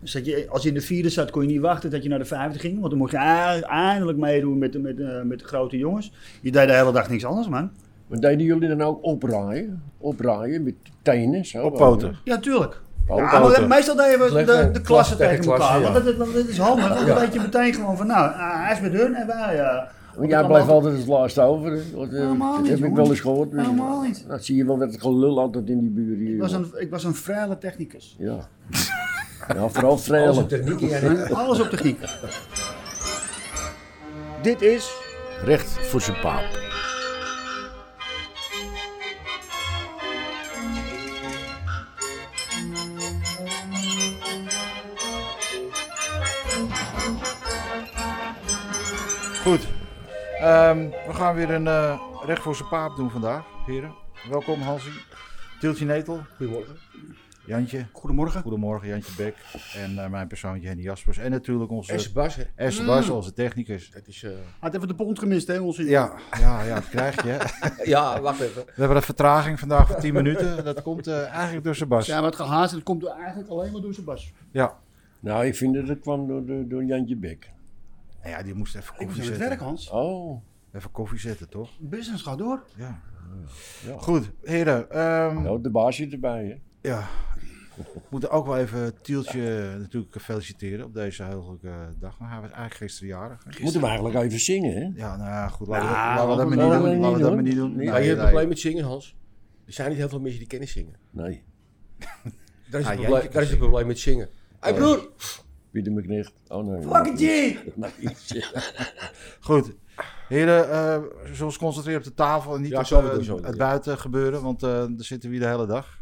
Dus dat je, als je in de vierde zat, kon je niet wachten dat je naar de vijfde ging. Want dan mocht je a- eindelijk meedoen met, de- met, eh, met de grote jongens. Je deed de hele dag niks anders, man. Maar deden jullie dan ook opraaien? Opraaien met tenen? Zo, Op poten. Ja, tuurlijk. Poten. Ja, maar meestal deden we de, Leg- de, klassen klasse tegen tegen elkaar. klasse, ja. want dat, is- want dat is handig. Dan weet je meteen gewoon van, nou, ah, hij is met hun en wij... eh, Want jij blijft altijd het laatste over. hè? Want, eh, Helemaal dat niet, heb ik jongen. wel eens gehoord. Dus, Helemaal niet. Dat zie je wel met het gelul altijd in die buren hier. Ik was, joh. een, ik was een vrije technicus. Ja. ja, vooral Als een vrelen. techniek ja, nee. Alles op techniek. Dit is Recht voor zijn paap. Goed. Ehm, we gaan weer een eh, recht voor zijn paap doen vandaag, heren. Welkom Hansie. Tiltje Netel. Goedemorgen. Jantje. Goedemorgen. Goedemorgen, Jantje Bek. En eh, mijn persoontje Henny Jaspers. En natuurlijk onze Is Bas, hè? Mm. Esther Bas, onze technicus. Dat is, eh, Had even de pond gemist, hè, ons. Ja, ja, ja, dat krijg je. hè. ja, wacht even. We hebben een vertraging vandaag van 10 minuten. Dat komt eh, eigenlijk door Sebas. Ja, wat gehaast, dat komt eigenlijk alleen maar door zijn bas. Ja. Nou, ik vind dat het kwam door, door, door Jantje Bek. Nou ja, die moest even Ik was koffie aan het zetten. werk, Hans. Oh, Even koffie zetten, toch? Business gaat door. Ja. Ja. Goed, heren. ehm, nou, de baas zit erbij. Hè? Ja. We moeten ook wel even Tieltje natuurlijk feliciteren op deze heugelijke dag. Nou, hij was eigenlijk gisteren jarig. Moeten we eigenlijk even zingen, hè? Ja, nou ja, goed. Laten we, Nou, laten we dat laten maar we niet dat doen. niet Laten we dat doen. maar niet doen. Nee, Nee, Maar je hebt een nee. probleem met zingen, Hans. Er zijn niet heel veel mensen die kennen zingen. Nee, Dat is, Ah, het, jij probleem, kan dat is het probleem met zingen. Hé hey, broer! Pieter McNicht. Oh nee. Fucking G! Goed. Heren, eh zullen we ons concentreren op de tafel en niet Ja, op zo eh, doen, zo doen, het ja. buiten gebeuren, want eh, daar zitten we hier de hele dag.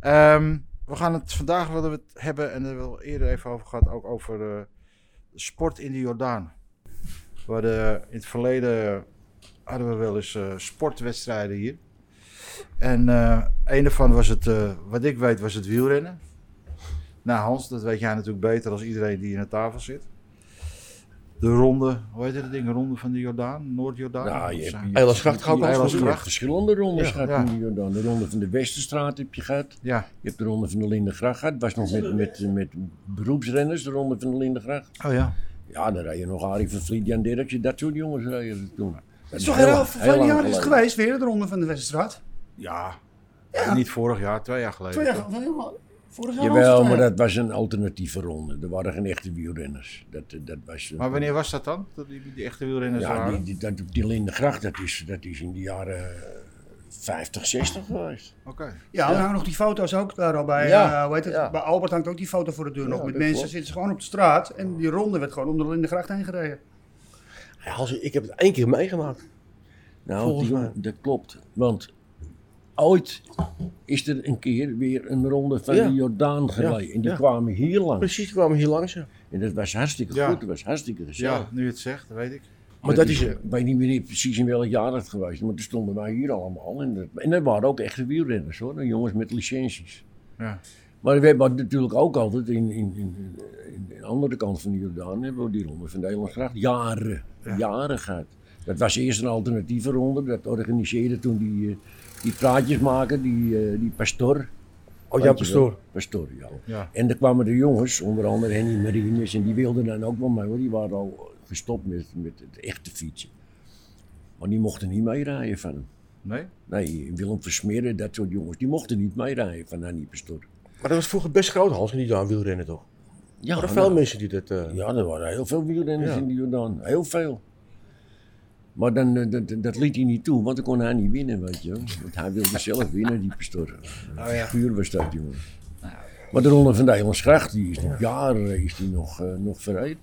Ehm, we gaan het vandaag willen we het hebben, en daar hebben we al eerder even over gehad, ook over eh, sport in de Jordaan. We hadden in het verleden hadden we wel eens eh, sportwedstrijden hier. En eh, een daarvan was het, eh, wat ik weet, was het wielrennen. Nou Hans, dat weet jij natuurlijk beter dan iedereen die hier aan tafel zit. De ronde, hoe heet dat ding? Ronde van de Jordaan, Noord-Jordaan? Nou, je Of zo. hebt, je Eilandsgracht gaat ook wel eens Eilandsgracht. goed. Je hebt verschillende rondes Ja, gehad ja. in de Jordaan. De ronde van de Westerstraat heb je gehad. Ja, Je hebt de ronde van de Lindengracht gehad. was nog met, met, met beroepsrenners, de ronde van de Lindengracht. oh ja. Ja, dan rij je nog Arie van Vliet, Jan Dirkje, dat soort jongens rijden er toen. Het is toch heel heel, lang- heel veel lang jaar is het geleden. geweest, weer de ronde van de Westerstraat. Ja. Niet vorig jaar, twee jaar geleden. Twee jaar toch? geleden. Vorig jaar Jawel, was het, maar eh, dat was een alternatieve ronde. Er waren geen echte wielrenners. Dat, eh, dat was, Maar wanneer was dat dan? Dat die, die echte wielrenners Ja, waren? die, die, dat, die Lindengracht, dat is, dat is in de jaren eh, 50, 60 geweest. Oké. Ja, er hangen nog die foto's ook daar al bij. Ja, eh, hoe heet het? ja. Bij Albert hangt ook die foto voor de deur nog. Ja, Met dat mensen klopt. zitten ze gewoon op de straat. En die ronde werd gewoon onder de Lindengracht heen gereden. Hey, Hans, ik heb het één keer meegemaakt. Nou, Volgens die- mij. dat klopt. Want ooit is er een keer weer een ronde van Ja. de Jordaan gereden. En die ja. kwamen hier langs. Precies, we kwamen hier langs. ja. Oh, En dat was hartstikke Ja. goed, dat was hartstikke gezellig. Ja, nu je het zegt, dat weet ik. Maar dat is... Ik weet niet meer precies in welk jaar dat geweest is, maar toen stonden wij hier allemaal. En dat, en dat waren ook echte wielrenners hoor, en jongens met licenties. Ja. Maar we hebben natuurlijk ook altijd in, in, in, in de andere kant van de Jordaan hebben we die ronde van de Elandgracht jaren, jaren gehad. Dat was eerst een alternatieve ronde, dat organiseerde toen die, eh, die praatjesmaker, die, eh, die pastoor. Oh, Weet Jan je wel? Pastoor. Pastoor, ja. Ja. En er kwamen de jongens, onder andere Henny Marines, en die wilden dan ook wel mee, hoor. Die waren al gestopt met, met het echte fietsen. Maar die mochten niet meerijden van hem. Nee? Nee, Willem Versmeren, dat soort jongens, die mochten niet meerijden van Henny Pastoor. Maar dat was vroeger best groot, Hans, in die Jordaan wielrennen toch? Er Ja, waren nou, veel mensen die dat... eh, ja, er waren heel veel wielrenners Ja. in de Jordaan. Heel veel. Maar dan, eh, dat, dat liet hij niet toe, want dan kon hij niet winnen, weet je. wel. Want hij wilde zelf winnen, die pastoor. Oh ja. Nou, Puur was dat, jongen. Maar de Ronde van de Eilandsgracht, die is nog jaren is die nog, eh, nog verrijd.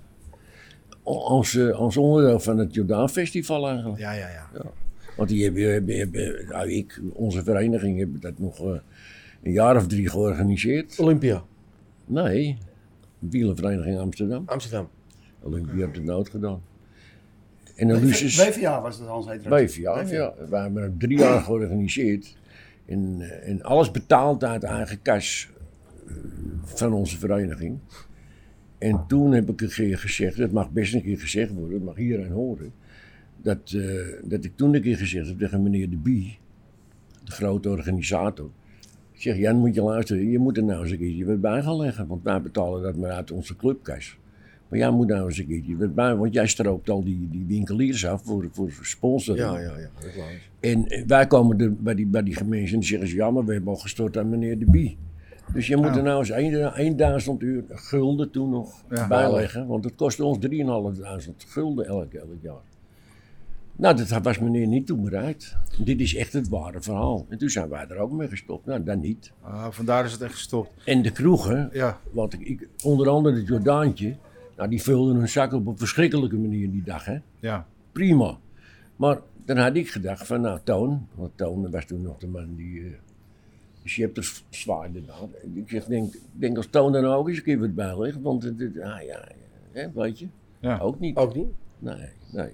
O- Als, eh, als onderdeel van het Jordaan Festival eigenlijk. Ja, ja, ja. Want die hebben, hebben, hebben- nou, ik, onze vereniging, hebben dat nog eh, een jaar of drie georganiseerd. Olympia, Nee, Wielenvereniging Amsterdam. Amsterdam. Olympia heeft het nood gedaan. En de Luces. WVA was dat, Hans heet Weef, ja. ja. We hebben er drie jaar georganiseerd. En, eh, en alles betaald uit eigen kas eh, van onze vereniging. En toen heb ik een keer gezegd, dat mag best een keer gezegd worden, dat mag iedereen horen. Dat, eh, dat ik toen een keer gezegd heb tegen meneer De Bie, de grote organisator. Ik zeg, Jan, moet je luisteren, je moet er nou eens een keertje wat bij gaan leggen, want wij betalen dat maar uit onze clubkas. Maar jij moet nou eens een keertje wat bij, want jij stroopt al die, die winkeliers af voor, voor sponsoring. Ja, ja, ja. Dat is waar. En eh, wij komen er bij, die, bij die gemeente en zeggen ze, ja, maar we hebben al gestort aan meneer De Bie. Dus je moet er nou eens één- 1000 uur gulden toen nog Ja. bijleggen, want het kostte ons 3.500 gulden elk, elk jaar. Nou, dat was meneer niet toe bereid. Dit is echt het ware verhaal. En toen zijn wij er ook mee gestopt. Nou, dan niet. Ah, vandaar is het echt gestopt. En de kroegen, Ja, want ik, ik- onder andere het Jordaantje, nou, die vulden hun zak op een verschrikkelijke manier die dag. Hè? ja. prima. Maar dan had ik gedacht van, nou Toon, want Toon was toen nog de man die eh de scepters zwaaide. daar. Ik zeg, denk, denk als Toon dan ook eens een keer wat bij ligt, want het, het- ah ja, ja, hè, weet je, Ja. ook niet. Ook niet? Nee, nee.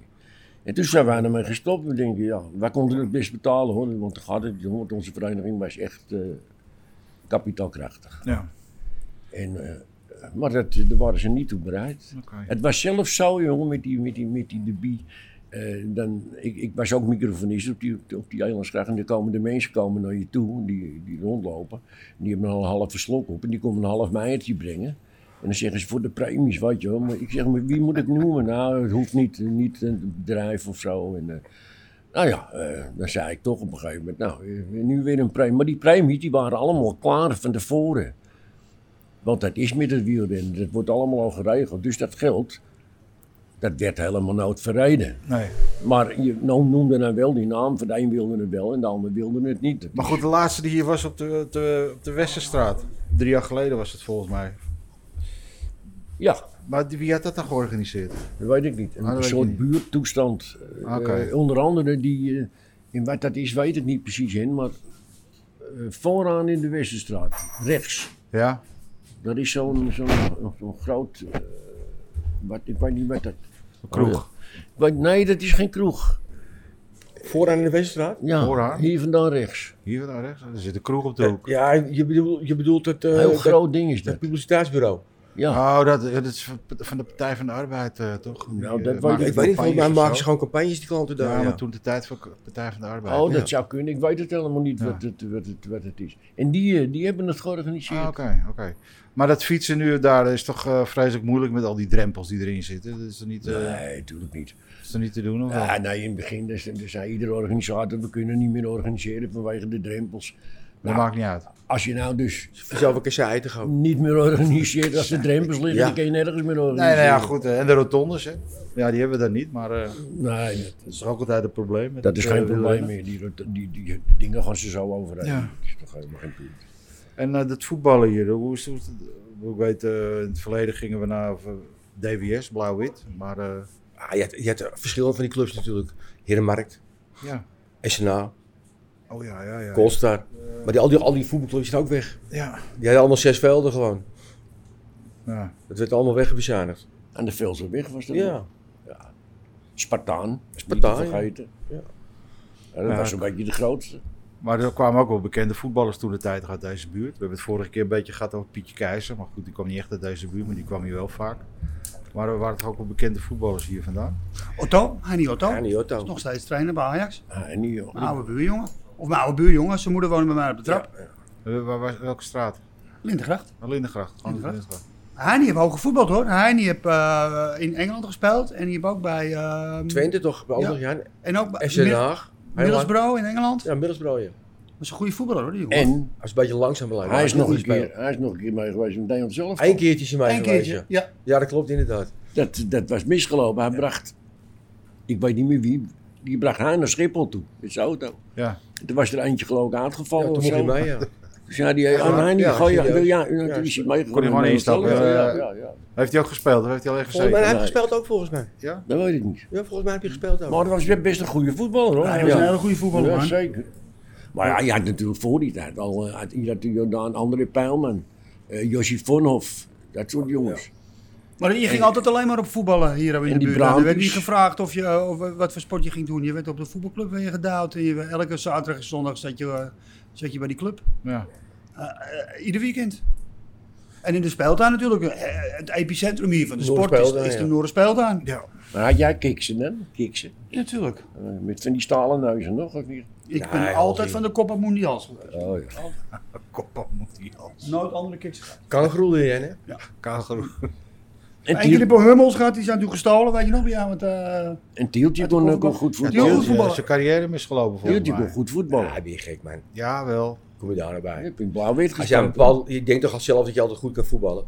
En toen zijn wij ermee gestopt. We denken, ja, wij konden het best betalen hoor, want, dan gaat het, want onze vereniging was echt eh, kapitaalkrachtig. Ja, En, eh, maar dat, daar waren ze niet toe bereid. oké. Het was zelfs zo, jongen, met die, met die, met die debie. Eh, dan, ik, ik was ook microfonist op die, op die eilandsgracht. En er komen de mensen komen naar je toe, die, die rondlopen. En die hebben al een halve slok op en die komen een half meiertje brengen. En dan zeggen ze voor de premies, wat je wel. Maar ik zeg, maar wie moet ik noemen? Nou, het hoeft niet, niet een bedrijf of zo. En, eh, nou ja, eh, dan zei ik toch op een gegeven moment, nou, eh, nu weer een premie. Maar die premies, die waren allemaal klaar van tevoren. Want dat is met het wielrennen, dat wordt allemaal al geregeld. Dus dat geld, dat werd helemaal nooit verreden. Nee. Maar je nou, noemde dan wel die naam, van de een wilde het wel en de ander wilde het niet. Maar goed, de laatste die hier was op de, op de, op de Westerstraat. Drie jaar geleden was het volgens mij. Ja, Maar die- wie had dat dan georganiseerd? dat weet ik niet. Een Ah, dat weet je soort niet. buurtoestand. Eh, Oké. onder andere die, eh, in wat dat is weet ik niet precies in, maar eh, vooraan in de Westerstraat, rechts. Ja? Daar is zo'n zo'n zo'n groot, eh, wat, ik weet niet wat dat... kroeg. Wat- Nee, dat is geen kroeg. Vooraan in de Westerstraat? Ja, Vooraan? hier vandaan rechts. Hier naar rechts. Er zit een kroeg op de hoek. Eh, Ja, je bedoelt, je bedoelt het, eh, Heel dat- groot ding is het dat. publiciteitsbureau. Ja. Oh, dat, dat is van- van de Partij van de Arbeid, eh, toch? Nou, Die, dat eh, weet maakte ik Ik weet niet, volgens mij campagnes maken of ze zo. gewoon campagnes die klanten daar. Ja, ja. maar toen de tijd van de Partij van de Arbeid. Oh, Ah, ja. dat zou kunnen. Ik weet het helemaal niet Ja. wat, het, wat, het, wat het is. En die, eh, die hebben het georganiseerd. Ah, oké, oké. Maar dat fietsen nu daar is toch eh, vreselijk moeilijk met al die drempels die erin zitten. Dat is toch niet, eh, Nee, natuurlijk niet. is toch niet te doen of wel? Ja, nee, in het begin dus, dus zei iedere organisator, we kunnen niet meer organiseren vanwege de drempels. Dat maakt niet uit. Als je nou dus Voor zelf een keer zijn ei te gaan. niet meer organiseert, als de drempels liggen, Ja. dan kun je nergens meer Nee, nee, organiseren. ja, goed. eh, en de rotondes, hè. Ja, die hebben we dan niet, maar eh, Nee, dat, dat is ook altijd een probleem. met dat is het, geen eh, probleem wielrennen. meer. Die, die, die, die dingen gaan ze zo overheen. Ja. Dat is toch helemaal geen punt. En eh, dat voetballen hier, hoe is het? Ik weet, eh, in het verleden gingen we naar eh, DWS, blauw-wit. Maar eh, Ah, je, hebt, je hebt verschillende van die clubs natuurlijk. Herenmarkt, ja, SNA, oh ja, ja, ja. Colstar. Maar die, al, die, al die voetbalclubs zijn ook weg. Ja, Die hadden allemaal zes velden gewoon. ja. Het werd allemaal wegbezuinigd. Aan de Velserweg was dat nog. Ja. Spartaan. Spartaan, Niet te ja. vergeten. Ja. Ja, dat Ja. was een beetje de grootste. Maar er kwamen ook wel bekende voetballers toen de tijd uit deze buurt. We hebben het vorige keer een beetje gehad over Pietje Keizer. Maar goed, die kwam niet echt uit deze buurt, maar die kwam hier wel vaak. Maar er waren toch ook wel bekende voetballers hier vandaan? Otto, Hani Otto. Ja, die Is Otto. nog steeds trainer bij Ajax. Ah, en die, Mijn oude buurjongen. Of mijn oude buurjongen. Zijn moeder woonde bij mij op de trap. Eh, waar, waar- welke straat? Lindegracht. Oh, Lindengracht. Gewoon Lindengracht. Lindengracht. Heini heeft hoog gevoetbald hoor. Heini heeft eh, in Engeland gespeeld. En die heeft ook bij... ehm, Twente toch, bij andere ja. En ook bij FC Den Mid- Haag. Heel lang. Middlesbrough in Engeland. Ja, Middelsbro, ja. Dat is een goede voetballer hoor, die jongen. en Als een beetje langzaam blijven. hij, is nog een Goed spelen. keer, hij is nog een keer mee geweest met Nederland zelf. Eén keertje is hij mij Eén geweest. keertje. ja. Ja. Ja, dat klopt inderdaad. Dat, dat was misgelopen. Hij bracht, ik weet niet meer wie, die bracht haar naar Schiphol toe met zijn auto. Ja. Er was er eentje geloof ik Ja, aangevallen toen of mocht hij zo. mee, ja. Dus ja, die ja, Ja, aan Heini, ja, gooi- ja, serieus. ja, ja, Ja, toen is hij meegegaan. Kon hij gewoon met instappen, Nederland zelf. ja, Ja, ja, ja. Heeft hij ook gespeeld of heeft hij alleen gezeten? Volgens mij hij Nee. heeft gespeeld ook, volgens mij. Ja? Dat weet ik niet. Ja, volgens mij heb je gespeeld ook. Maar dat was best een goede voetballer hoor. Hij was Ja. een hele goede voetballer Ja, man. zeker. Maar ja, je had natuurlijk voor die tijd al, eh, had, je had de Jordaan, André Pijlman, eh Josje Vonhoff, dat soort jongens. Maar je ging altijd alleen maar op voetballen hier in de die buurt. Er werd Brabantjes. niet gevraagd of je, eh, of eh, wat voor sport je ging doen. Je werd op de voetbalclub ben je gedouwd. En je, elke zaterdag en zondag zat je, eh, zat je bij die club. Ja. Eh, ieder weekend. En in de speeltuin natuurlijk. Eh, het epicentrum hier van de sport is, Noorderspeeltuin, is de ja. Noorderspeeltuin. Ja. Maar had jij kiksen dan? Kiksen. Ja, natuurlijk. Eh, met van die stalen neuzen nog of niet? Ik Nee, ben Aldi. altijd van de Copa Mundials geweest. Oh, ja. Koppa moet die als. Nooit andere kicks gehad. Kangaroo doe jij, hè? Kangaroo. En, En Tiel, Filippo Hummels gehad, die zijn toen gestolen, weet je nog? Ja, want, eh, en Tieltje kon ook wel goed Tieltje voetballen. voetballen. Zijn carrière misgelopen volgens Tieltje kon mij. goed Ja, voetballen. ben je Ah, gek, man. Jawel. Kom je daar nou bij. Ik ben blauw-wit Als jij een gespeeld. bal, je denkt toch al zelf dat je altijd goed kan voetballen.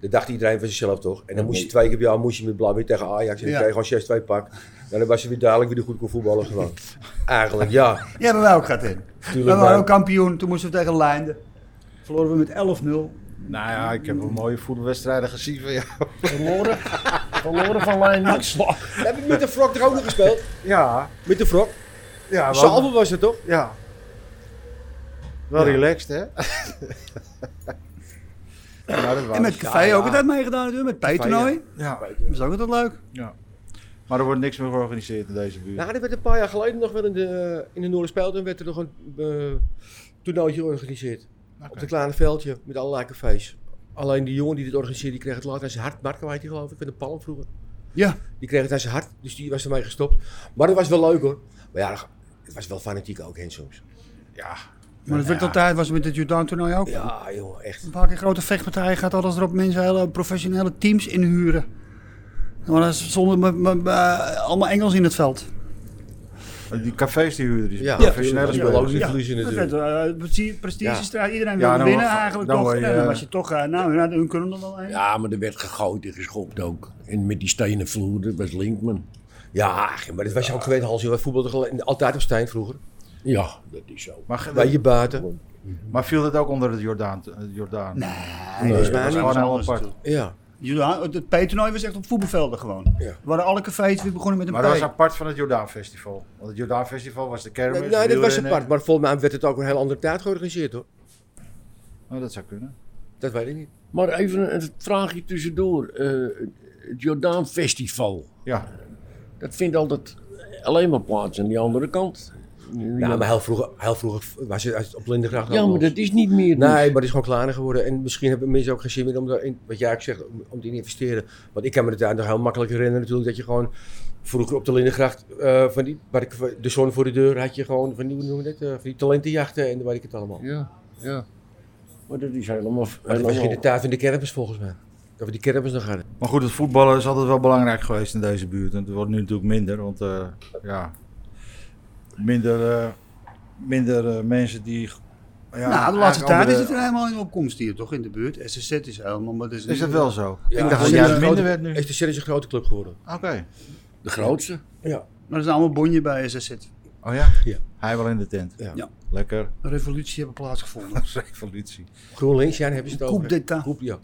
Dat dacht iedereen van zichzelf toch? En dan moest je twee keer per jaar moest je met blauw weer tegen Ajax. En dan Ja. kreeg je gewoon 6-2 pak. Nou, dan was je weer duidelijk wie de goed kon voetballen gewoon. Eigenlijk ja. die hebben wij ook gehad in. We Tuurlijk, waren maar- ook kampioen, toen moesten we tegen Leinden. Verloren we met 11-0. Nou ja, ik heb wel mooie voetbalwedstrijden gezien van jou. Verloren, verloren van Lijn Max. Heb ik met de Frok er ook nog gespeeld? Ja. Met de Frok? Ja, wel, Salvo was het toch? ja. wel relaxed, hè? Ja, dat En met was- Café ja, ook ja. altijd meegedaan natuurlijk, met Pijtoernooi. Ja. Dat is ook altijd leuk. Maar er wordt niks meer georganiseerd in deze buurt. Nou, dat werd een paar jaar geleden nog wel in de, eh, in de Noorderspeelt. En werd er nog een eh toernooitje georganiseerd. Op het kleine veldje met allerlei cafés. Alleen die jongen die dit organiseerde, die kreeg het later aan zijn hart. Marco heet hij geloof ik, met een palm vroeger. Ja. Die kreeg het aan zijn hart, dus die was ermee gestopt. Maar dat was wel leuk hoor. Maar ja, het was wel fanatiek ook heen soms. Ja. Maar dat werd altijd, was het met het Jordaan-toernooi ook. Ja, jongen, echt. Een paar keer grote vechtpartijen gaat al als erop mensen hele professionele teams inhuren. Maar dat is zonder me- me- me- allemaal Engels in het veld. Die cafés die huurden, die Ja, professionele dat is spelers. wel ook niet verliezen dat natuurlijk. werd, eh, prestige- prestigestrijd. Iedereen Ja, wilde dan winnen word- eigenlijk dan toch. word je, En dan eh, was je toch, eh, nou, nou, hun kunnen er wel een. Ja, maar er werd gegooid en geschopt ook. En met die stenen vloer, dat was Linkman. Ja, maar dat was je ook gewend, Hans. Je voetbalde altijd op Stijn vroeger. Ja, dat is zo. Maar, ge- Bij je buiten. maar viel dat ook onder het Jordaan? het Jordaan? Nee, Nee, volgens dat mij was niet. gewoon heel Anders apart. natuurlijk. Ja. Jordaan- het- Het P-toernooi was echt op voetbalvelden gewoon. Ja. Er waren alle cafés weer begonnen met een Maar dat was P. apart van het Jordaan Festival. Want het Jordaan Festival was de kermis. Nee, nee, dat was wielrennen. apart. Maar volgens mij werd het ook een heel andere tijd georganiseerd hoor. Nou, dat zou kunnen. Dat weet ik niet. Maar even een vraagje tussendoor. Eh, het Jordaan Festival, Ja, dat vindt altijd alleen maar plaats aan die andere kant. Ja, maar heel vroeger, heel vroeger was het- was het op Lindengracht. Ja, maar allemaal. dat is niet meer. dus. Nee, maar het is gewoon kleiner geworden. En misschien hebben mensen ook geen zin meer om daarin, wat jij ook zegt, om, om te investeren. Want ik kan me de tijd nog heel makkelijk herinneren natuurlijk dat je gewoon vroeger op de Lindengracht, eh, van die, waar ik, de zon voor de deur had je gewoon van die, hoe noem je dat, eh, van die talentenjachten en weet ik het allemaal. Ja, ja. Maar dat is helemaal... Maar dat was in de helemaal tijd van de kermis volgens mij. Dat we die kermis nog hadden. Maar goed, het voetballen is altijd wel belangrijk geweest in deze buurt. En het wordt nu natuurlijk minder, want eh, ja, minder, eh, minder eh, mensen die... Ja, Nou, de laatste eigenlijk tijd is andere- het er helemaal in opkomst hier toch in de buurt. SSZ is helemaal... maar Is dat wel zo? Ja, ik dacht is dat een juist grote- minder werd nu. Is de Serre een grote club geworden? Oké. de grootste. Ja. Maar er zijn allemaal bonje bij SSZ. Oh ja? Ja. Hij wel in de tent. Ja. Ja. Lekker. Een revolutie hebben plaatsgevonden. Revolutie. GroenLinks, ja, daar hebben ze het Coup over. d'état. Groep, ja.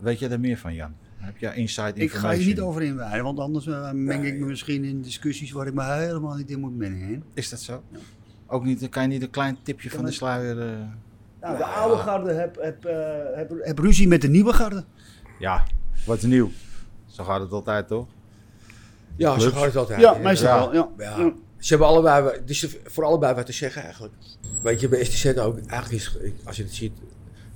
Weet jij daar meer van, Jan? Heb jij inside Ik ga information? hier niet over inwijden, want anders eh, meng ik me misschien in discussies waar ik me helemaal niet in moet mengen. hè. Is dat zo? Ook niet, kan je niet een klein tipje van de sluier... eh, Nou, de oude garde heb, heb, eh, heb, heb ruzie met de nieuwe garde. Ja, wat nieuw. Zo gaat het altijd, toch? Ja, zo Clubs. gaat het altijd. Ja, hè. meestal Ja. wel. Ja. Ja. Ja. Ze hebben allebei, dus ze- voor allebei wat te zeggen eigenlijk. Weet je, bij STZ ook, eigenlijk is, als je het ziet,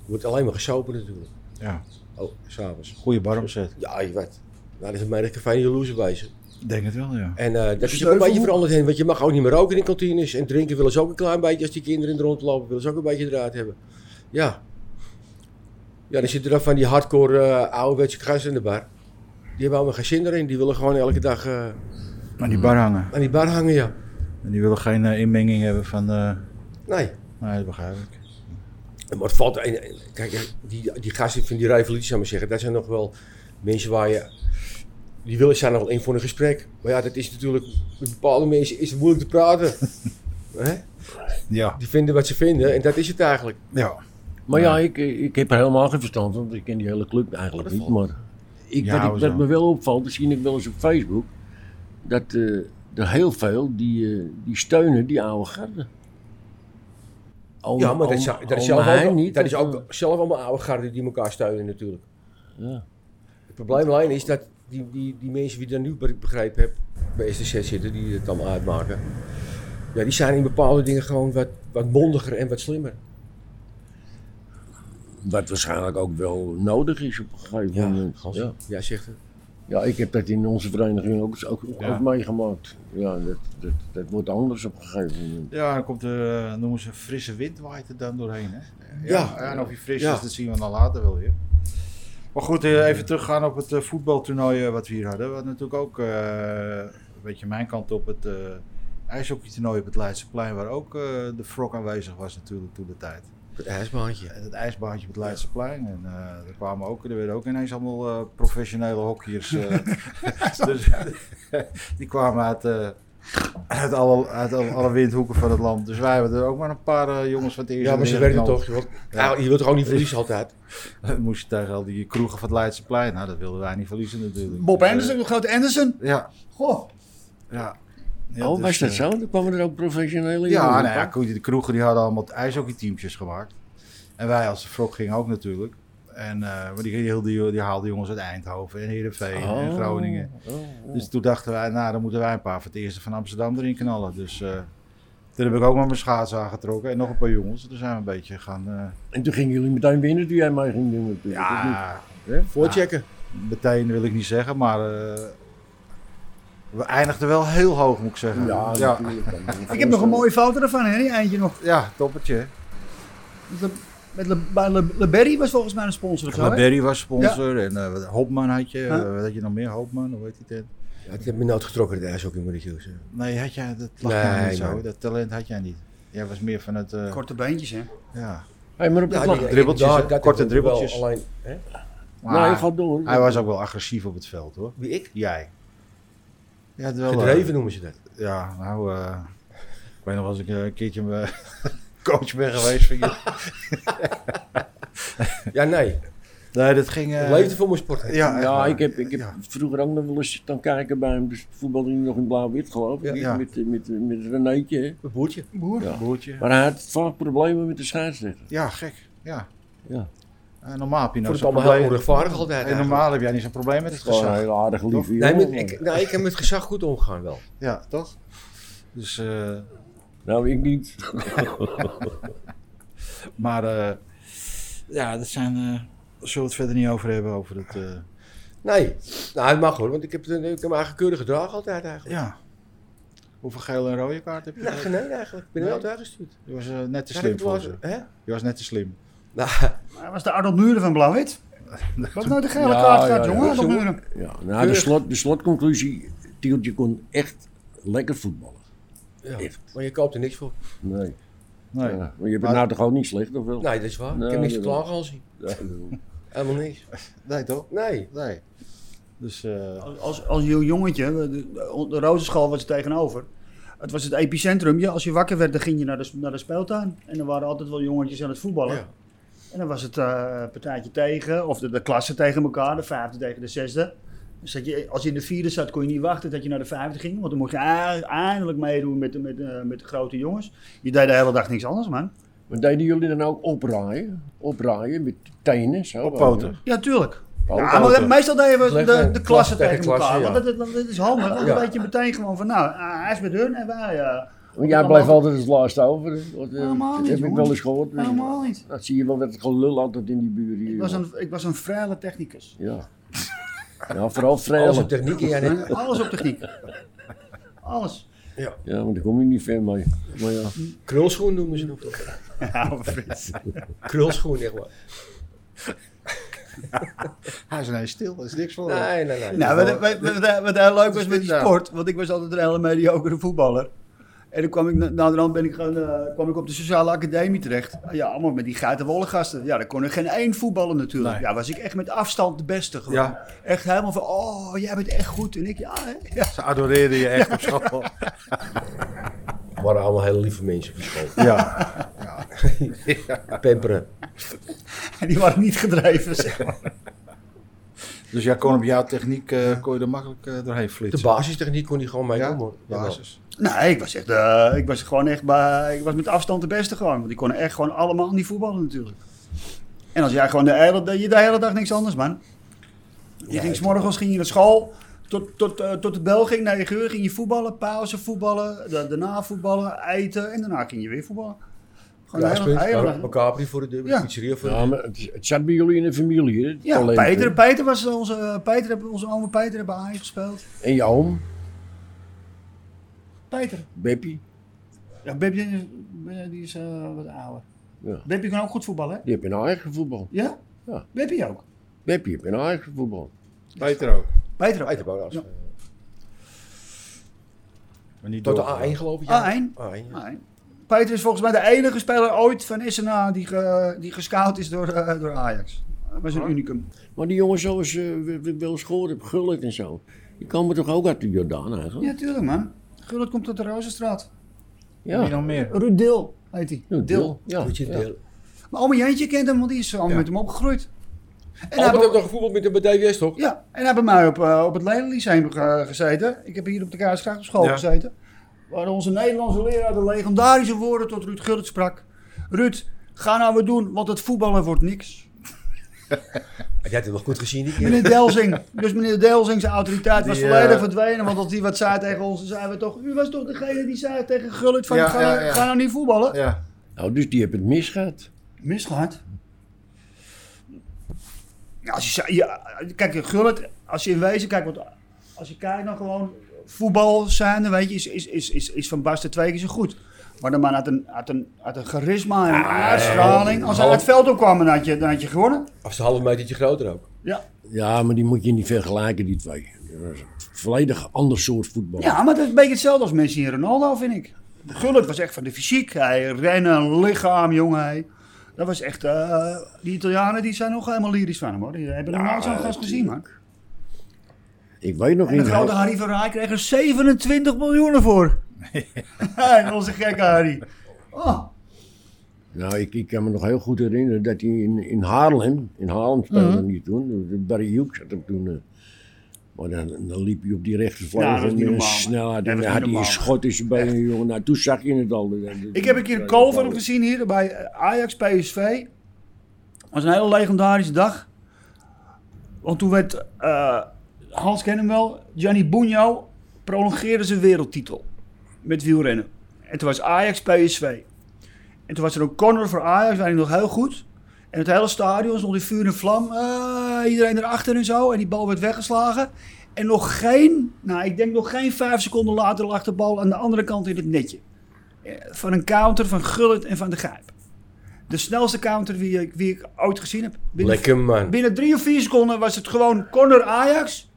wordt alleen maar gesopen natuurlijk. Ja. Oh, s'avonds. Goede bar omzet. Ja, je weet. Nou, dat is een menig café in jaloers bezig. Denk het wel, ja. En eh, dat is ook een Sleutelhoek. beetje veranderd heen, want je mag ook niet meer roken in kantines. En drinken willen ze ook een klein beetje, als die kinderen er rondlopen, willen ze ook een beetje eruit hebben. Ja. Ja, dan zitten er dan van die hardcore eh ouderwetse gasten in de bar. Die hebben allemaal geen zin erin, die willen gewoon elke dag eh, Aan die bar hangen. aan die bar hangen, ja. En die willen geen eh, inmenging hebben van... eh, Nee. Nee, dat begrijp ik. Maar het valt. en- en- Kijk, die, die gasten van die revolutie, zou ik maar zeggen, dat zijn nog wel mensen waar je. Die willen zijn nog wel in voor een gesprek. Maar ja, dat is natuurlijk. Met bepaalde mensen is het moeilijk te praten. Hè? Ja. Die vinden wat ze vinden en dat is het eigenlijk. Ja. Maar ja, ik, ik heb er helemaal geen verstand van, want ik ken die hele club eigenlijk niet. Maar ik, Ja, wat, ik, wat hoezo? me wel opvalt, dat zie ik wel eens op Facebook, dat eh, er heel veel die, eh, die steunen die oude garde. Al- Ja, maar al- dat, zou- dat al is zelf mij ook, niet, dat is of, ook zelf allemaal oude garden die elkaar steunen natuurlijk. Ja. Het probleem alleen is dat die, die, die mensen die daar nu be- begrepen heb, bij STZ zitten, die het allemaal uitmaken. Ja, die zijn in bepaalde dingen gewoon wat, wat mondiger en wat slimmer. eh, Wat waarschijnlijk ook wel nodig is op een gegeven Ja, moment. Hans, Ja. jij zegt het. Ja, ik heb dat in onze vereniging ook, ook, Ja. ook meegemaakt. Ja, dat, dat, dat wordt anders op een gegeven moment. Ja, dan komt de, eh, noemen ze, frisse wind waait er dan doorheen. Hè? Ja. En of hij fris Ja. is, dat zien we dan later wel weer. Maar goed, eh, even teruggaan op het eh, voetbaltoernooi eh, wat we hier hadden. We hadden natuurlijk ook, eh, een beetje mijn kant op, het eh ijshockeytoernooi op het Leidseplein. Waar ook eh, de frog aanwezig was natuurlijk toen de tijd. Het ijsbaantje. En Het ijsbaantje op het Leidseplein. En eh er kwamen ook, er werden ook ineens allemaal eh, professionele hockeyers. eh, dus, die kwamen uit, eh, uit, alle, uit alle, alle windhoeken van het land. Dus wij hebben er ook maar een paar eh, jongens van het eerste Ja, maar ze leer werden geknald. toch. want- Ja, je wilt toch ook niet verliezen altijd. Moest je tegen al die kroegen van het Leidseplein. Nou, dat wilden wij niet verliezen natuurlijk. Bob Dus, eh, Anderson, de grote Anderson. Ja, Goh. ja. oh, dus, was dat eh, zo? Dan kwamen er ook professionele Ja, jongeren nou ja, bij? goed, de kroegen die hadden allemaal ijshockeyteamtjes gemaakt. En wij als Frog gingen ook natuurlijk. En, eh, maar die, die, die, die haalden jongens uit Eindhoven en Heerenveen en Oh. Groningen. Oh, oh. Dus toen dachten wij, nou dan moeten wij een paar voor het eerste van Amsterdam erin knallen. Dus eh, toen heb ik ook maar mijn schaats aangetrokken en nog een paar jongens. Toen zijn we een beetje gaan eh, En toen gingen jullie meteen winnen toen jij mij ging doen. natuurlijk, of niet? ja, Voorchecken. meteen wil ik niet zeggen, maar eh, we eindigden wel heel hoog moet ik zeggen. ja, ja, Ah, natuurlijk. kan me Ik heb nog een voorstellen. mooie foto ervan, hè? die Eindje nog. ja toppertje. hè. Le, met Le, bij Le, Le Berry was volgens mij een sponsor of zo. hè? Berry was sponsor en eh, Hopman had je. Huh? eh, wat had je nog meer? Hopman, hoe heet die tent? Ja, ik heb me nooit getrokken, het ijshockey, moet ik je zeggen. Nee, had jij, dat lag Nee, jou niet zo. man. Dat talent had jij niet. Jij was meer van het... eh, Korte beentjes, hè? Nou, ja. Hey, maar op de Ja, vlag. die- dribbeltjes, inderdaad, hè? dat Korte heb ik wel, dribbeltjes. Alleen, hè? Maar Nee, Nou, ga door. Ah. Hij was ook wel agressief op het veld hoor. Wie ik? Jij. Ja, het wel, eh, Gedreven noemen ze dat. Ja, nou, eh, ik weet nog als ik eh, een keertje mijn coach ben geweest. Vind je. Ja, nee. Nee, dat ging. eh, Het leefde voor mijn sport. hè. Ja, echt Ja, waar. ik heb, ik heb Ja. vroeger ook nog wel eens staan kijken bij hem. Dus voetbalde hij nog in blauw-wit, geloof ik. Ja, ja. Met, met, met, met Renéetje. hè. Mijn broertje. Boer. Ja. Broertje. Maar hij had vaak problemen met de scheidsrechter. Ja, gek. Ja. Ja. Eh, normaal heb je Ik nou vond het zo'n allemaal heel probleem. onrechtvaardig altijd. En eigenlijk. normaal heb jij niet zo'n probleem met het Gewoon een gezag. heel aardig lieve Nee, jongen. maar ik, nou, ik heb met gezag goed omgegaan wel. Ja, toch? Dus, eh, Nou, ik niet. maar eh, ja, dat zijn. eh daar zullen we het verder niet over hebben? Over het. eh, Nee, nou, het mag hoor, want ik heb, het- ik heb me eigen keurig gedragen altijd eigenlijk. ja. Hoeveel gele en rode kaart heb je? Nou, nee, eigenlijk. Ik ben er wel uitgestuurd. Je was eh, net te Ja, slim ik was- voor ze. hè? Je was net te slim. Nou, Hij was de Arnold Muren van Blauw-Wit. Wat nou de gele Ja, kaart ja, gaat, ja. jongen? Arnold Zo. Muren. Ja, nou, de, slot, de slotconclusie. Tieltje kon echt lekker voetballen. ja. Echt. Maar je koopt er niks voor. Nee. Nee. Ja, maar je hebt het Maar- nou toch ook niet slecht, of wel? Nee, dat is waar. Nee, ik heb niks te dat wel. klagen al zien. Ja, ik bedoel, Helemaal niks. Nee, toch? Nee. Nee. Dus. eh, Als, als, als je jongetje, de, de, de Rozenschool was er tegenover. Het was het epicentrum. Ja, als je wakker werd, dan ging je naar de, naar de speeltuin. En er waren altijd wel jongetjes aan het voetballen. Ja. En dan was het eh partijtje tegen, of de, de klassen tegen elkaar, de vijfde tegen de zesde. Dus dat je, als je in de vierde zat, kon je niet wachten dat je naar de vijfde ging. Want dan mocht je a- eindelijk meedoen met, de- met, eh, met de grote jongens. Je deed de hele dag niks anders, man. Maar deden jullie dan ook opraaien? Opraaien met tenen? Zo, op poten. Ja, tuurlijk. Poten. Ja, maar meestal deden we de, Leg- de, klassen klasse tegen, tegen elkaar. klasse, ja. Want dat, dat, dat is handig. want Dan Ja. weet je meteen gewoon van, nou, ah, hij is met hun en wij... eh, Want jij blijft altijd het laatste over. hè? Want, eh, Helemaal dat niet, heb ik jongen. wel eens gehoord. Helemaal niet. Dat zie je wel, dat gelul altijd in die buren hier. Ik was, joh. een, ik was een vrije technicus. Ja. ja, vooral Alles op vrijelijk. techniek en jij net. Alles op techniek. Alles. Ja, want daar kom je niet ver mee. Maar ja, Krulschoen noemen ze nog toch? Ja, Frits. Krulschoen, echt waar. Hij is ineens stil, er is niks van. eh. Nee, nee, nee. Nou, wat, wat, wat, wat heel leuk was dit met die nou? sport, want ik was altijd een hele mediocre voetballer. En toen kwam ik, na na de hand ben ik gewoon, eh, kwam ik op de sociale academie terecht. Ah, Ja, allemaal met die geitenwolle gasten. Ja, daar kon er geen één voetballen natuurlijk. Nee. Ja, was ik echt met afstand de beste gewoon. Ja. Echt helemaal van, oh, jij bent echt goed. En ik, ja, hè? ja. Ze adoreerden je echt op school. Het waren allemaal hele lieve mensen op die school. Ja. Pamperen. En die waren niet gedreven, zeg maar. Dus jij kon op jouw techniek eh, kon je er makkelijk eh, doorheen De flitsen. basistechniek kon hij gewoon mee ja, doen, hoor. basis. Nee, ik was echt, eh, ik was gewoon echt bij, ik was met afstand de beste gewoon. Want die konden echt gewoon allemaal niet voetballen natuurlijk. En als jij gewoon de hele, je de hele dag niks anders, man. Je ging s'morgens ging je naar school, tot, tot, eh, tot de bel ging, naar je uur ging je voetballen, pauze voetballen, da- daarna voetballen, eten en daarna ging je weer voetballen. Gewoon een hele- hele- Elkaar Capri voor de deur, Ja. de pizzeria voor de Ja, maar het, het zat bij jullie in de familie, hè? het Ja, talent, hè? Peter, Peter was onze, Peter, hebben- onze oom Peter hebben Ajax gespeeld. En je oom, Peter. Beppie, Ja, Beb, die is eh, wat ouder. Ja. Bebje kan ook goed voetballen, hè? die heeft een eigen voetbal. Ja? Ja. Bebje ook. Beppie heeft een eigen voetbal. Peter ook. Peter ook. Uit de bouw, als- Ja. Maar niet Tot de doorgegaan. A1 geloof ik. A1. A1, ja. Nee. Peter is volgens mij de enige speler ooit van SNA die, ge, die gescout is door, eh, door Ajax. Dat was een unicum. Maar die jongens zoals eh, we we- wel eens gehoord hebben, Gullit en zo, die komen toch ook uit de Jordaan eigenlijk? Ja, tuurlijk man. Gullit komt uit de Rozenstraat. Wie nog meer? Ruud Dil heet hij. Ja, Dil. Ja, Moet je ja. deel. Maar oma Jantje kent hem, want die is allemaal Ja. met hem opgegroeid. En hij Albert heeft heeft ook- nog gevoetbald met de bij DWS toch? ja, en hij heeft bij mij op, eh, op het Leiden Lyceum eh, gezeten. Ik heb hier op de Kaarsgracht op school Ja. gezeten. Waar onze Nederlandse leraar de legendarische woorden tot Ruud Gullit sprak. Ruud, ga nou wat doen, want het voetballen wordt niks. Jij hebt hem nog goed gezien die keer. Meneer Delsing. Dus meneer Delsing, zijn autoriteit was Die, volledig eh, verdwenen. Want als die wat zei tegen ons, dan zeiden we toch... U was toch degene die zei tegen Gullit van... Ja, ga, ja, ja. ga nou niet voetballen. Ja. Nou, dus die hebben het misgehad. Misgaat. Ja, als je, zei- ja, kijk, Gullit, als je in wezen kijkt... Want als je kijkt dan gewoon... Voetbal zijn, weet je, is, is, is, is, is Van Basten twee keer zo goed. Maar de man had een, had een, had een charisma en een Ah, uitstraling. Als hij half- het veld opkwam, dan had je, dan had je gewonnen. Of ze een half metertje groter ook. Ja. Ja, maar die moet je niet vergelijken, die twee. Dat is een volledig ander soort voetbal. Ja, maar dat is een beetje hetzelfde als Messi en Ronaldo, vind ik. Gullit was echt van de fysiek. Hij rennen, lichaam, jongen. Hij. Dat was echt... eh, die Italianen die zijn nog helemaal lyrisch van hem, hoor. Die hebben hem nooit zo'n gast gezien, man. Ik weet nog En de niet. grote Harry van Rij kreeg er 27 miljoen voor. Hey, Onze gekke Harry. Oh, Nou, ik, ik kan me nog heel goed herinneren dat hij in, in Haarlem, in Haarlem speelde Mhm. hij toen. De Barry Hughes had hem toen. eh, maar dan, dan liep hij op die Ja, rechtervlak dat is en niet met een normaal, man. snelheid. Nee, En dat dan is had niet hij een normaal. schot in zijn benen, jongen. Nou, toen zag je het al. ik heb een keer een call van hem gezien hier bij Ajax PSV. Dat was een hele legendarische dag. Want toen werd eh, Hans kent hem wel, Gianni Bugno prolongeerde zijn wereldtitel met wielrennen. En toen was Ajax PSV. En toen was er een corner voor Ajax, weet ik nog heel goed. En het hele stadion stond in vuur en vlam. eh, iedereen erachter en zo. En die bal werd weggeslagen. En nog geen, nou ik denk nog geen vijf seconden later lag de bal aan de andere kant in het netje. Eh, Van een counter van Gullit en van de Gijp. De snelste counter die ik, die ik ooit gezien heb. Binnen Lekker man. Binnen drie of vier seconden was het gewoon corner Ajax,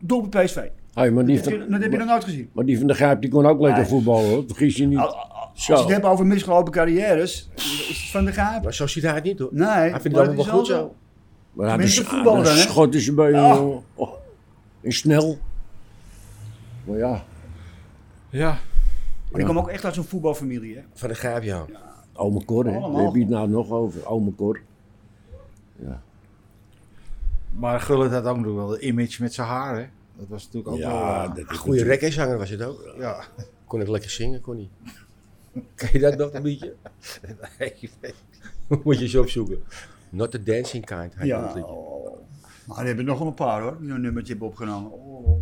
doelpunt PSV. Hey, maar, die Dat heb je- van, dat heb je nog nooit gezien. maar die van de Gijp die kon ook lekker Nee. Oh, voetballen, hoor. vergis je niet. Al- al- Als Zo. je het hebt over misgelopen carrières, is het van de gaap. Maar zo ziet hij het niet hoor. Nee, vindt het maar allemaal dat is wel goed wel zo. Maar hij had Tenminste, een- hij had voetballen dan, een hè? schot in zijn benen, Ah. jongen. Oh. En snel. Maar ja, Ja. Maar die kwam ook echt uit zo'n voetbalfamilie. Hè? Van de gaaf ja. Ome Cor, hè. Allemaal. daar heb je het nou nog over. Ome Cor. Maar Gullit had ook nog wel een image met zijn haar, hè? Dat was natuurlijk ook Ja, wel... eh, dat is Goeie rekkershanger was het ook. ja. Kon ik lekker zingen, kon niet. Ken je dat nog een liedje? Nee, nee. Moet je eens opzoeken. Not the dancing kind. heet Ja. dat liedje. oh. Maar die hebben nog wel een paar hoor, die een nummertje hebben opgenomen. Oh.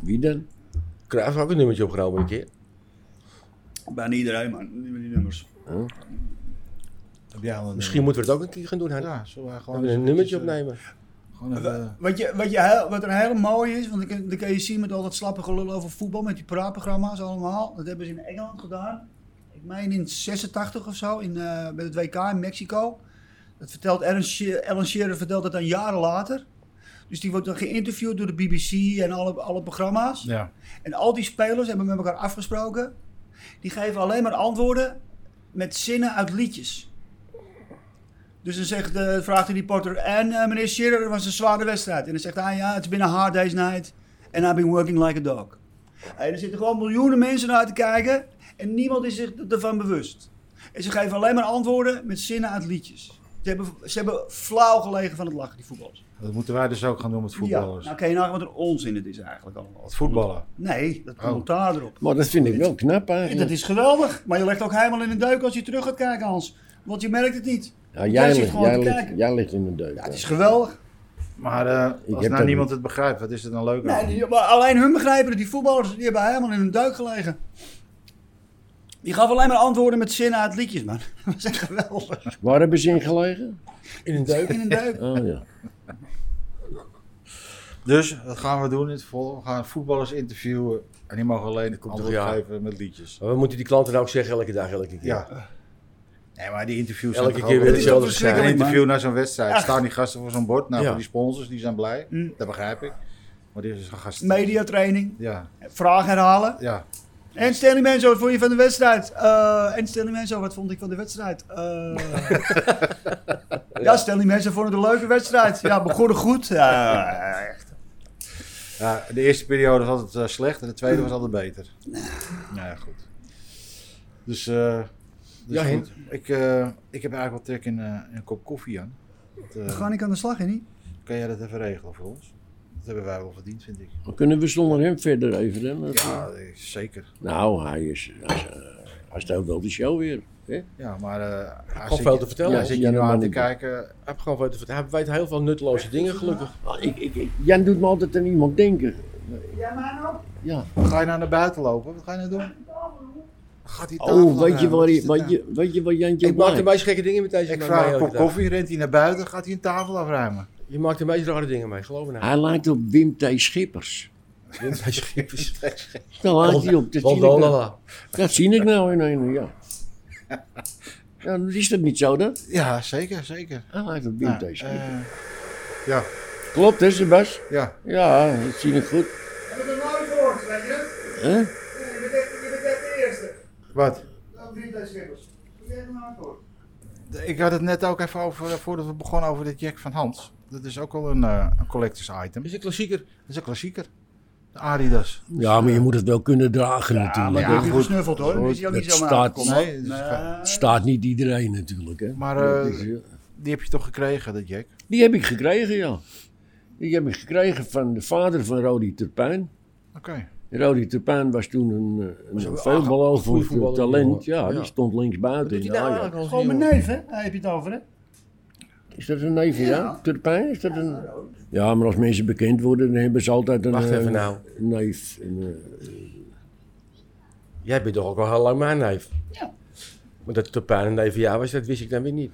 Wie dan? Cruijff had ook een nummertje opgenomen een keer. Bijna iedereen man, die die nummers. Heb jij al een eh, Misschien moeten we het ook een keer gaan doen. Hein? Ja, zullen wij Dat gewoon we een eens nummertje eventjes, eh, opnemen. Gewoon even... Wat, je, wat, je heel- wat er heel mooi is, want dan kan je zien met al dat slappe gelul over voetbal, met die praatprogramma's allemaal. Dat hebben ze in Engeland gedaan. Ik meen in 86 of zo, in, eh, bij het WK in Mexico. Dat vertelt Alan Shear- Alan Shearer vertelt dat dan jaren later. Dus die wordt dan geïnterviewd door de BBC en alle, alle programma's. eh, Ja. En al die spelers hebben met elkaar afgesproken. Die geven alleen maar antwoorden met zinnen uit liedjes. Dus dan zegt, eh, vraagt hij die porter, en eh, meneer Shearer, het was een zware wedstrijd. En dan zegt hij, ja, it's been a hard day's night, and I've been working like a dog. En er zitten gewoon miljoenen mensen naar te kijken en niemand is zich ervan bewust. En ze geven alleen maar antwoorden met zinnen uit liedjes. Ze hebben, ze hebben flauw gelegen van het lachen, die voetballers. Dat moeten wij dus ook gaan doen met voetballers. Ja, nou kan je nagaan wat een onzin het is eigenlijk allemaal. Het voetballen. Nee, dat Oh. commentaar erop. Maar dat vind ik wel knap Ja, eigenlijk. dat is geweldig. Maar je legt ook helemaal in een duik als je terug gaat kijken, Hans. Want je merkt het niet. Ja, jij, zit ligt, gewoon jij, te ligt, kijken. jij ligt in de deuk. Ja, het is geweldig. Maar eh, als heb nou dat niemand het begrijpt, wat is het dan leuk Nee, aan? die- maar alleen hun begrijpen het. Die voetballers die hebben helemaal in een duik gelegen. Die gaf alleen maar antwoorden met zinnen uit liedjes, man. Dat was echt geweldig. Waar hebben ze in gelegen? In een deuk. In een duik. Oh ja. Dus dat gaan we doen in het volgende. We gaan voetballers interviewen. En die mogen alleen antwoord toch, ja. geven met liedjes. Maar we moeten die klanten nou ook zeggen elke dag, elke keer. Ja. Nee, maar die interviews Elke zijn toch keer ook- weer Het is hetzelfde toch verschrikkelijk, gezeik. Een interview naar zo'n wedstrijd. Staan die gasten voor zo'n bord? Nou, Ja. voor die sponsors, die zijn blij. Mm. Dat begrijp ik. Maar dit is een gast... Mediatraining. Ja, Vragen herhalen. ja. En Stanley Menzo, wat vond je van de wedstrijd? Eh, en Stanley Menzo, wat vond ik van de wedstrijd? Eh, ja, Stanley Menzo vond het een leuke wedstrijd. Ja, begonnen goed. Ja, echt. ja. De eerste periode was altijd eh, slecht en de tweede was altijd beter. Nou ja, goed. Dus, eh dus Ja, goed. Ik, eh, ik heb eigenlijk wel trek in, eh, in een kop koffie aan. We gaan niet aan de slag, hè? niet? Kan jij dat even regelen voor ons? Dat hebben wij wel verdiend, vind ik. Dan kunnen we zonder hem verder even. Hè? Maar- Ja, eh, zeker. Nou, hij is. Hij, is, eh, hij stelt wel de show weer. Hè? Ja, maar... eh hij Gewoon zit veel je- te vertellen. Hij Ja, zit ja, je nu dat aan mag te niet. kijken. Hij, heeft gewoon weet, hij weet heel veel nutteloze dingen, gelukkig. Ah, Ik, ik, ik- Jan doet me altijd aan iemand denken. Ja, maar ook. Ja. Ga je nou naar buiten lopen? Wat ga je nou doen? Gaat die tafel Oh, weet je, ruimen? waar Wat hij, is dit weet, nou? je, weet je wat Jantje Ik ook maak de maakt? meest gekke dingen met deze Ik man vraag mee een elke kop dag. koffie, rent hij naar buiten, gaat hij een tafel afruimen. Je maakt de meest rare dingen mee, geloof me nou. Hij lijkt op Wim T. Schippers. Wim bij Schippers. Daar lijkt hij op. Dat zie, ik nou, Waldolala. dat zie ik nou in een, ja. ja. dan Is dat niet zo dan? Ja, zeker, zeker. Hij lijkt op Wim Nou, T. Schippers. eh, ja, Klopt hè, Sebas? ja. Ja, dat zie ik goed. Je hebt het nooit gehoord, weet je het? Hè? Je bent echt, je bent echt de eerste. Wat? Dat drie bij Schippers. Je hebt het nooit gehoord. Ik had het net ook even over, eh, voordat we begonnen, over dit Jack van Hans. Dat is ook wel een, eh, een collectors item. Is een klassieker. Dat is een klassieker. De Adidas. Ja, maar je moet het wel kunnen dragen Ja, maar natuurlijk. ja, goed. goed gesnuffeld hoor. Dan is hij ook Dat niet zomaar staat- aangekomen. Nee, dat is Eh, Nee. Staat niet iedereen natuurlijk. Hè? Maar Dat eh, is, ja. die heb je toch gekregen, dat Jack? Die heb ik gekregen, ja. Die heb ik gekregen van de vader van Rodi Terpijn. Oké. Rodi Terpijn was toen een, eh, een een goede veelbelovend voetballer, talent. die Ja, jongen. die Ja. stond links Wat buiten doet hij in nou Ajax. eigenlijk als Gewoon mijn jongen? neef, hè? Daar heb je het over, hè? Is dat een neef van jou? Ja. Terpijn? Is dat een... Ja, maar als mensen bekend worden, dan hebben ze altijd een Wacht eh, even nou. neef. En, eh, Jij bent toch ook al heel lang mijn neef? Ja. Maar dat Topijn een neef van jou was, dat wist ik dan weer niet.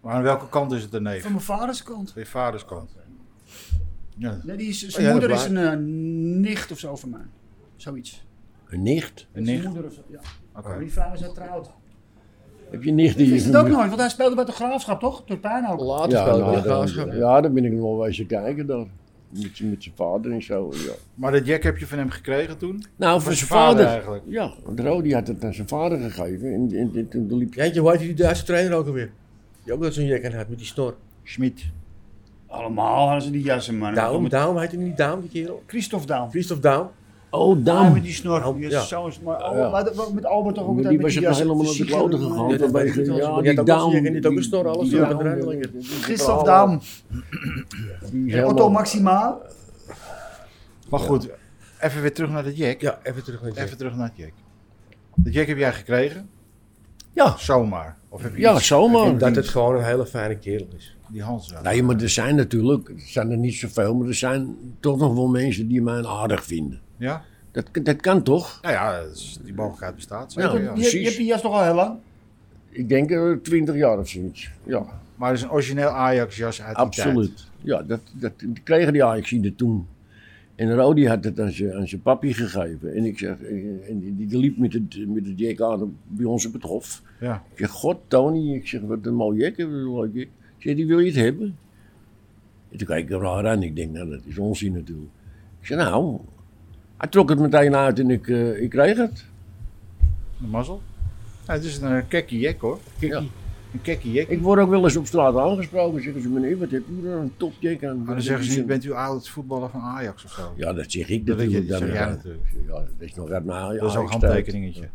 Maar aan welke kant is het een neef? Van mijn vaders kant. Van je vaders kant. Ja. Nee, die is, zijn Oh ja, dat moeder is waar. een eh, nicht of zo van mij. Zoiets. een nicht? Een Zijn nicht? moeder of zo, ja. Oké. Maar Die vrouw is getrouwd. Heb je een nicht die Ik je wist het ook vermoeid- nooit, want hij speelde bij de graafschap, toch? Turpijn ook. Later Ja, speelde ik bij nou, de dan, graafschap. ja, dan ben ik nog wel wezen kijken daar. Met, z'n- met zijn vader en zo. Ja. Maar dat Jack heb je van hem gekregen toen? Nou, Van voor zijn zijn vader vader. eigenlijk. Ja, want Rodi had het aan zijn vader gegeven. En, en, en toen liep Jantje, hoe heet die Duitse trainer ook alweer? Die ook dat zo'n jek aan had met die snor. Schmid. Allemaal hadden ze die jassen, man. Daum, Daum, heet hij niet Daum die kerel? Christophe Daum. Christophe Daum. Oh, Ah, Dam. met die snor. Die is Ja. zo maar, Al- Ja. maar dat- met Albert toch ook Maar met die was met het nog jassen. helemaal op de Zieke kloten man. gegaan. Ja, dat vanwege- weet ik wel. ja, Je hebt die ook wel- Dam. je kent ook een snor, alles erop en Daum, eraan, lekker. die- die- die- Christophe die- Daum. die is Otto helemaal- Maxima. Maar goed, even weer terug naar dat Jack. Ja, even terug naar Even terug naar het Jack. Dat Jack heb jij gekregen? Ja. Zomaar. Of heb je Ja, iets- zomaar. Dat het gewoon een hele fijne kerel is. die Hans wel? Nee, maar er zijn natuurlijk, er zijn er niet zoveel, maar er zijn toch nog wel mensen die mij aardig vinden. Ja? Dat, dat kan toch? Nou ja, dat is- die mogelijkheid bestaat. Ja. zeker, Je, ja. hebt- je hebt die jas toch al heel lang? Ik denk eh, twintig jaar of zoiets. Ja, Maar het is een origineel Ajax jas uit die tijd. absoluut. Ja, dat, dat die kregen die Ajaxiden toen. En Rodi had het aan zijn, aan zijn papi gegeven. En ik zeg, en die, die liep met het, met het jek aan op- bij ons op het hof. Ja. Ik zeg, god Tony, ik zeg, wat een mooi jek, wat een leuk jek. Ik zeg, die wil je het hebben? En toen kijk ik hem raar aan, ik denk, nou dat is onzin natuurlijk. Ik zeg, nou, hij trok het meteen uit en ik, eh, ik kreeg het. Een mazzel. Ja, het is een kekkie Jack hoor. Ja. Een kekkie Jack. Ik word ook wel eens op straat aangesproken, zeggen ze, meneer, wat heb u er een topjack aan? Maar dan zeggen ze niet, bent u oud voetballer van Ajax of zo? Ja, dat zeg ik Dat weet je, natuurlijk. dat zeg dan. jij natuurlijk. Ja, dat is nog uit mijn Dat is ook een Ajax-tijd. handtekeningetje.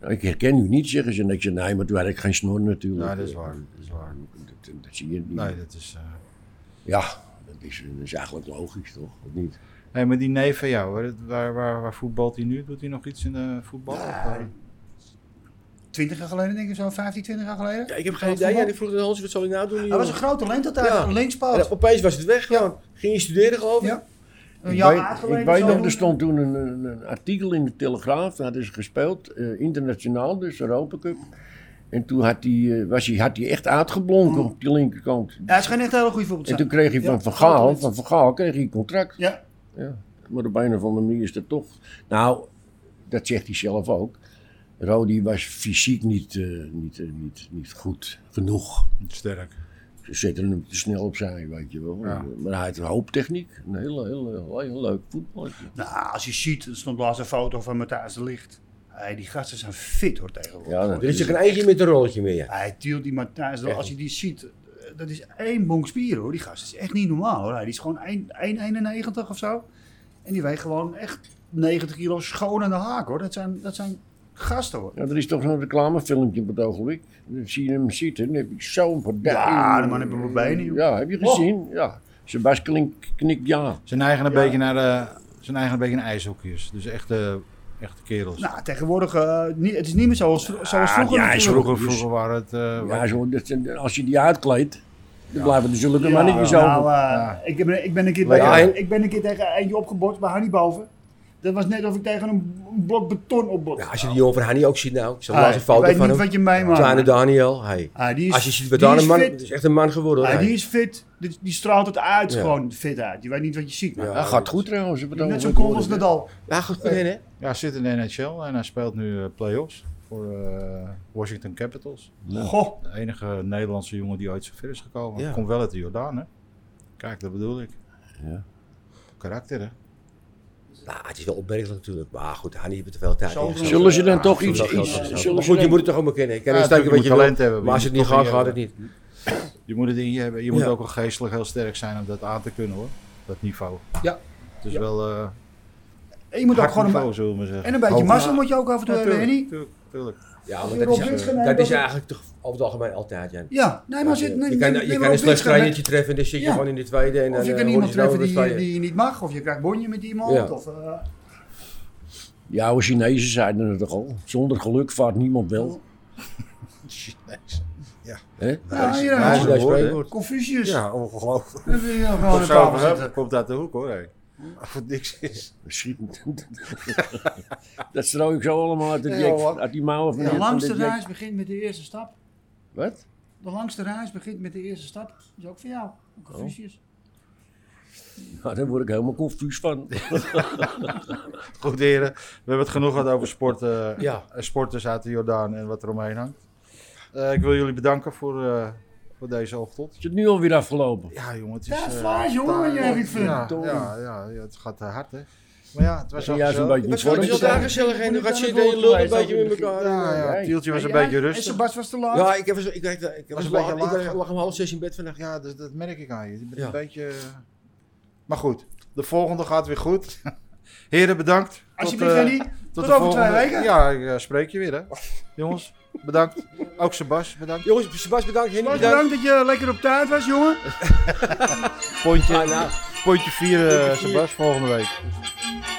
Nou, Ik herken u niet, zeggen ze. En ik zeg, nee, maar toen had ik geen snor natuurlijk. Ja, dat is waar. Dat is waar. Dat, dat zie je niet. Nee, dat is... eh, Ja, dat is, dat is eigenlijk logisch, toch? Of niet? Hé, maar die neef van jou, waar, waar, waar, waar voetbalt hij nu? Doet hij nog iets in de voetbal? Of, eh, 20 jaar geleden, denk ik zo, 15, 20 jaar geleden. Ja, ik heb geen idee. Ja, ik vroeg aan Hans, wat zal hij nou doen? die Hij was jongen? een groot talent dat hij Ja. linkspoot. En opeens was het weg gewoon. Ging je studeren geloof ik? Ja. Een ik jaar weet- uitgeleden ik weet zo. nog, er stond toen een, een, een artikel in de Telegraaf. Dat hadden ze gespeeld, eh, internationaal dus, Europa Cup. En toen had hij, eh, was hij, had hij echt uitgeblonken op die linkerkant. Ja, het schijnt echt een hele goede voetbal te En zijn. toen kreeg hij Mm. Ja, van Van Gaal, klopt. van Van Gaal kreeg hij een contract. Ja, Maar op een of andere manier is dat toch... Nou, dat zegt hij zelf ook. Rodi was fysiek niet, eh, niet, eh, niet, niet goed genoeg. Sterk. Ze zetten hem te snel opzij, weet je wel. Ja. Maar hij had een hoop techniek. Een heel, heel, heel, heel leuk voetballetje. nou, als je ziet, er stond laatst een foto van Matthijs de Licht. Hey, die gasten zijn fit hoor tegenwoordig. Ja, Er is er natuurlijk. geen eindje met een rolletje meer. ja. Hij tielt die Matthijs, de- Echt als je die ziet, eh, dat is één bonk spier hoor. Die gast is echt niet normaal hoor. Hij is gewoon 1 1,91 of zo. En die weegt gewoon echt 90 kilo schoon aan de haak hoor. Dat zijn, dat zijn gasten hoor. Ja, er is toch zo'n reclamefilmpje op het ogenblik. Dan zie je hem zitten, dan heb ik zo'n partij. Ja, de man heeft een benen, joh. Oh. Ja, heb je gezien? Ja. Sebastian Klink- knikt ja. Ze neigen een beetje naar de, ze neigen een beetje naar ijshoekjes. Dus echte, echte kerels. Nou, tegenwoordig, eh, niet, het is niet meer zoals, zoals vroeger. Ah, ja, hij is natuurlijk. vroeger, vroeger waren het... eh, ja zo, dat zijn- als je die uitkleedt, dan blijven er zulke Ja, mannetjes nou, over. eh, ik, ben, ik, ben een keer Lekker. tegen, ik ben een keer tegen eentje opgebord bij Hanni boven. Dat was net of ik tegen een blok beton opbot. Ja, als je die jongen van Hanni ook ziet nou. Ik zag Ah, laatst een ik foto weet van niet hem. wat je meemaakt. Kleine Daniel. Hey. Ah, die is, Als je ziet wat die daar een is man... fit. Het is echt een man geworden hoor. Ah, hij. die is fit. Die, die straalt het uit, Ja. gewoon fit uit. Je weet niet wat je ziet. Ja. Ja, gaat goed trouwens. op het Net zo ogenblik, cool hoor als ik. Nadal. Ja, goed goed in hè. Ja, zit in de NHL en hij speelt nu eh playoffs voor eh, Washington Capitals. Goh, De enige Nederlandse jongen die ooit zo ver is gekomen. Ja. Komt wel uit de Jordaan, hè? Kijk, dat bedoel ik. Ja. Karakter, hè? Nou, het is wel opmerkelijk natuurlijk. Maar goed, Hanni heeft er te veel tijd Zo in gestoken. Zullen ze dan toch Ja, iets... Zoveel geld iets aan zullen gestoken. Maar ze goed, je dan- moet het toch allemaal kennen. Ik kan Ja, een natuurlijk, stukje wat je je moet wil, talent hebben, Maar als je het je niet moet gaat, toch gaat het niet, niet. Je moet het in je hebben. Je moet Ja. ook wel geestelijk heel sterk zijn om dat aan te kunnen, hoor. Dat niveau. Ja. Het is wel eh en je moet ook hard gewoon een, niveau, ba- zullen we maar zeggen. en een beetje Hoog. massa moet je ook af en toe Ja, hebben, tuurlijk, Henny. tuurlijk, tuurlijk. Ja, Als maar je dat Rob is, Witsch eh, neemt, dat dan- is eigenlijk toch over het algemeen altijd, Jan. Ja, nee, maar zit, je kan, je kan een slecht trainertje treffen en dan zit je Ja. gewoon in de tweede. En dan, Of je eh, kan worden iemand ze nou treffen weer die, tweede. die je niet mag. Of je krijgt bonje met iemand. Ja. Of, eh, Die oude Chinezen zeiden het toch al. Zonder geluk vaart niemand wel. Hè? nou, hier Ja, hebben we zo'n deze woord, hè? spreekwoord. Confucius. Ja, ongelooflijk. Dan wil je gewoon Komt een zo tafel over, hè? zitten. Komt uit de hoek, hoor. hè. Of het niks is. Schiet. dat strooi ik zo allemaal uit, de Ja, jack- hoor. uit die mouwen van De die- van langste die jack- reis begint met de eerste stap. Wat? De langste reis begint met de eerste stap. Dat is ook voor jou. Confucius. Nou, daar word ik helemaal confuus van. Goed, heren. We hebben het genoeg gehad over sport. eh, Ja. eh, sporters uit de Jordaan en wat er omheen hangt. Eh, ik wil jullie bedanken voor, eh, voor deze ochtend. Is het nu alweer afgelopen? Ja, jongen, het is... Ja, eh, Vlaas, jongen, jij vindt het. ja, ja, ja, ja, het gaat eh, hard, hè. Maar ja, het was Ja, al juist een gezellig. beetje Maar zo, het is vorm. wel daar gezellig en dan gaat zitten en je lult een beetje met elkaar. Ja, ja, Ja, Tieltje was een Ja, beetje En rustig. Sebas was te laat. Ja, ik, heb, ik, ik, ik, ik, was een laat- beetje ik laag. lag om half zes in bed vannacht. Ja, dus dat, dat merk ik aan je. Je bent Ja. een beetje... eh, Maar goed, de volgende gaat weer goed. Heren, bedankt. Alsjeblieft, eh, Henny. Tot over twee weken. Ja, ik eh, spreek je weer, hè. Jongens, bedankt. Ook Sebas, bedankt. Jongens, Sebas bedankt, Henny Sebas, bedankt. bedankt dat je lekker op tijd was, jongen. Pontje, Ah, nou. pontje 4, Pontje eh vier. Sebas, volgende week.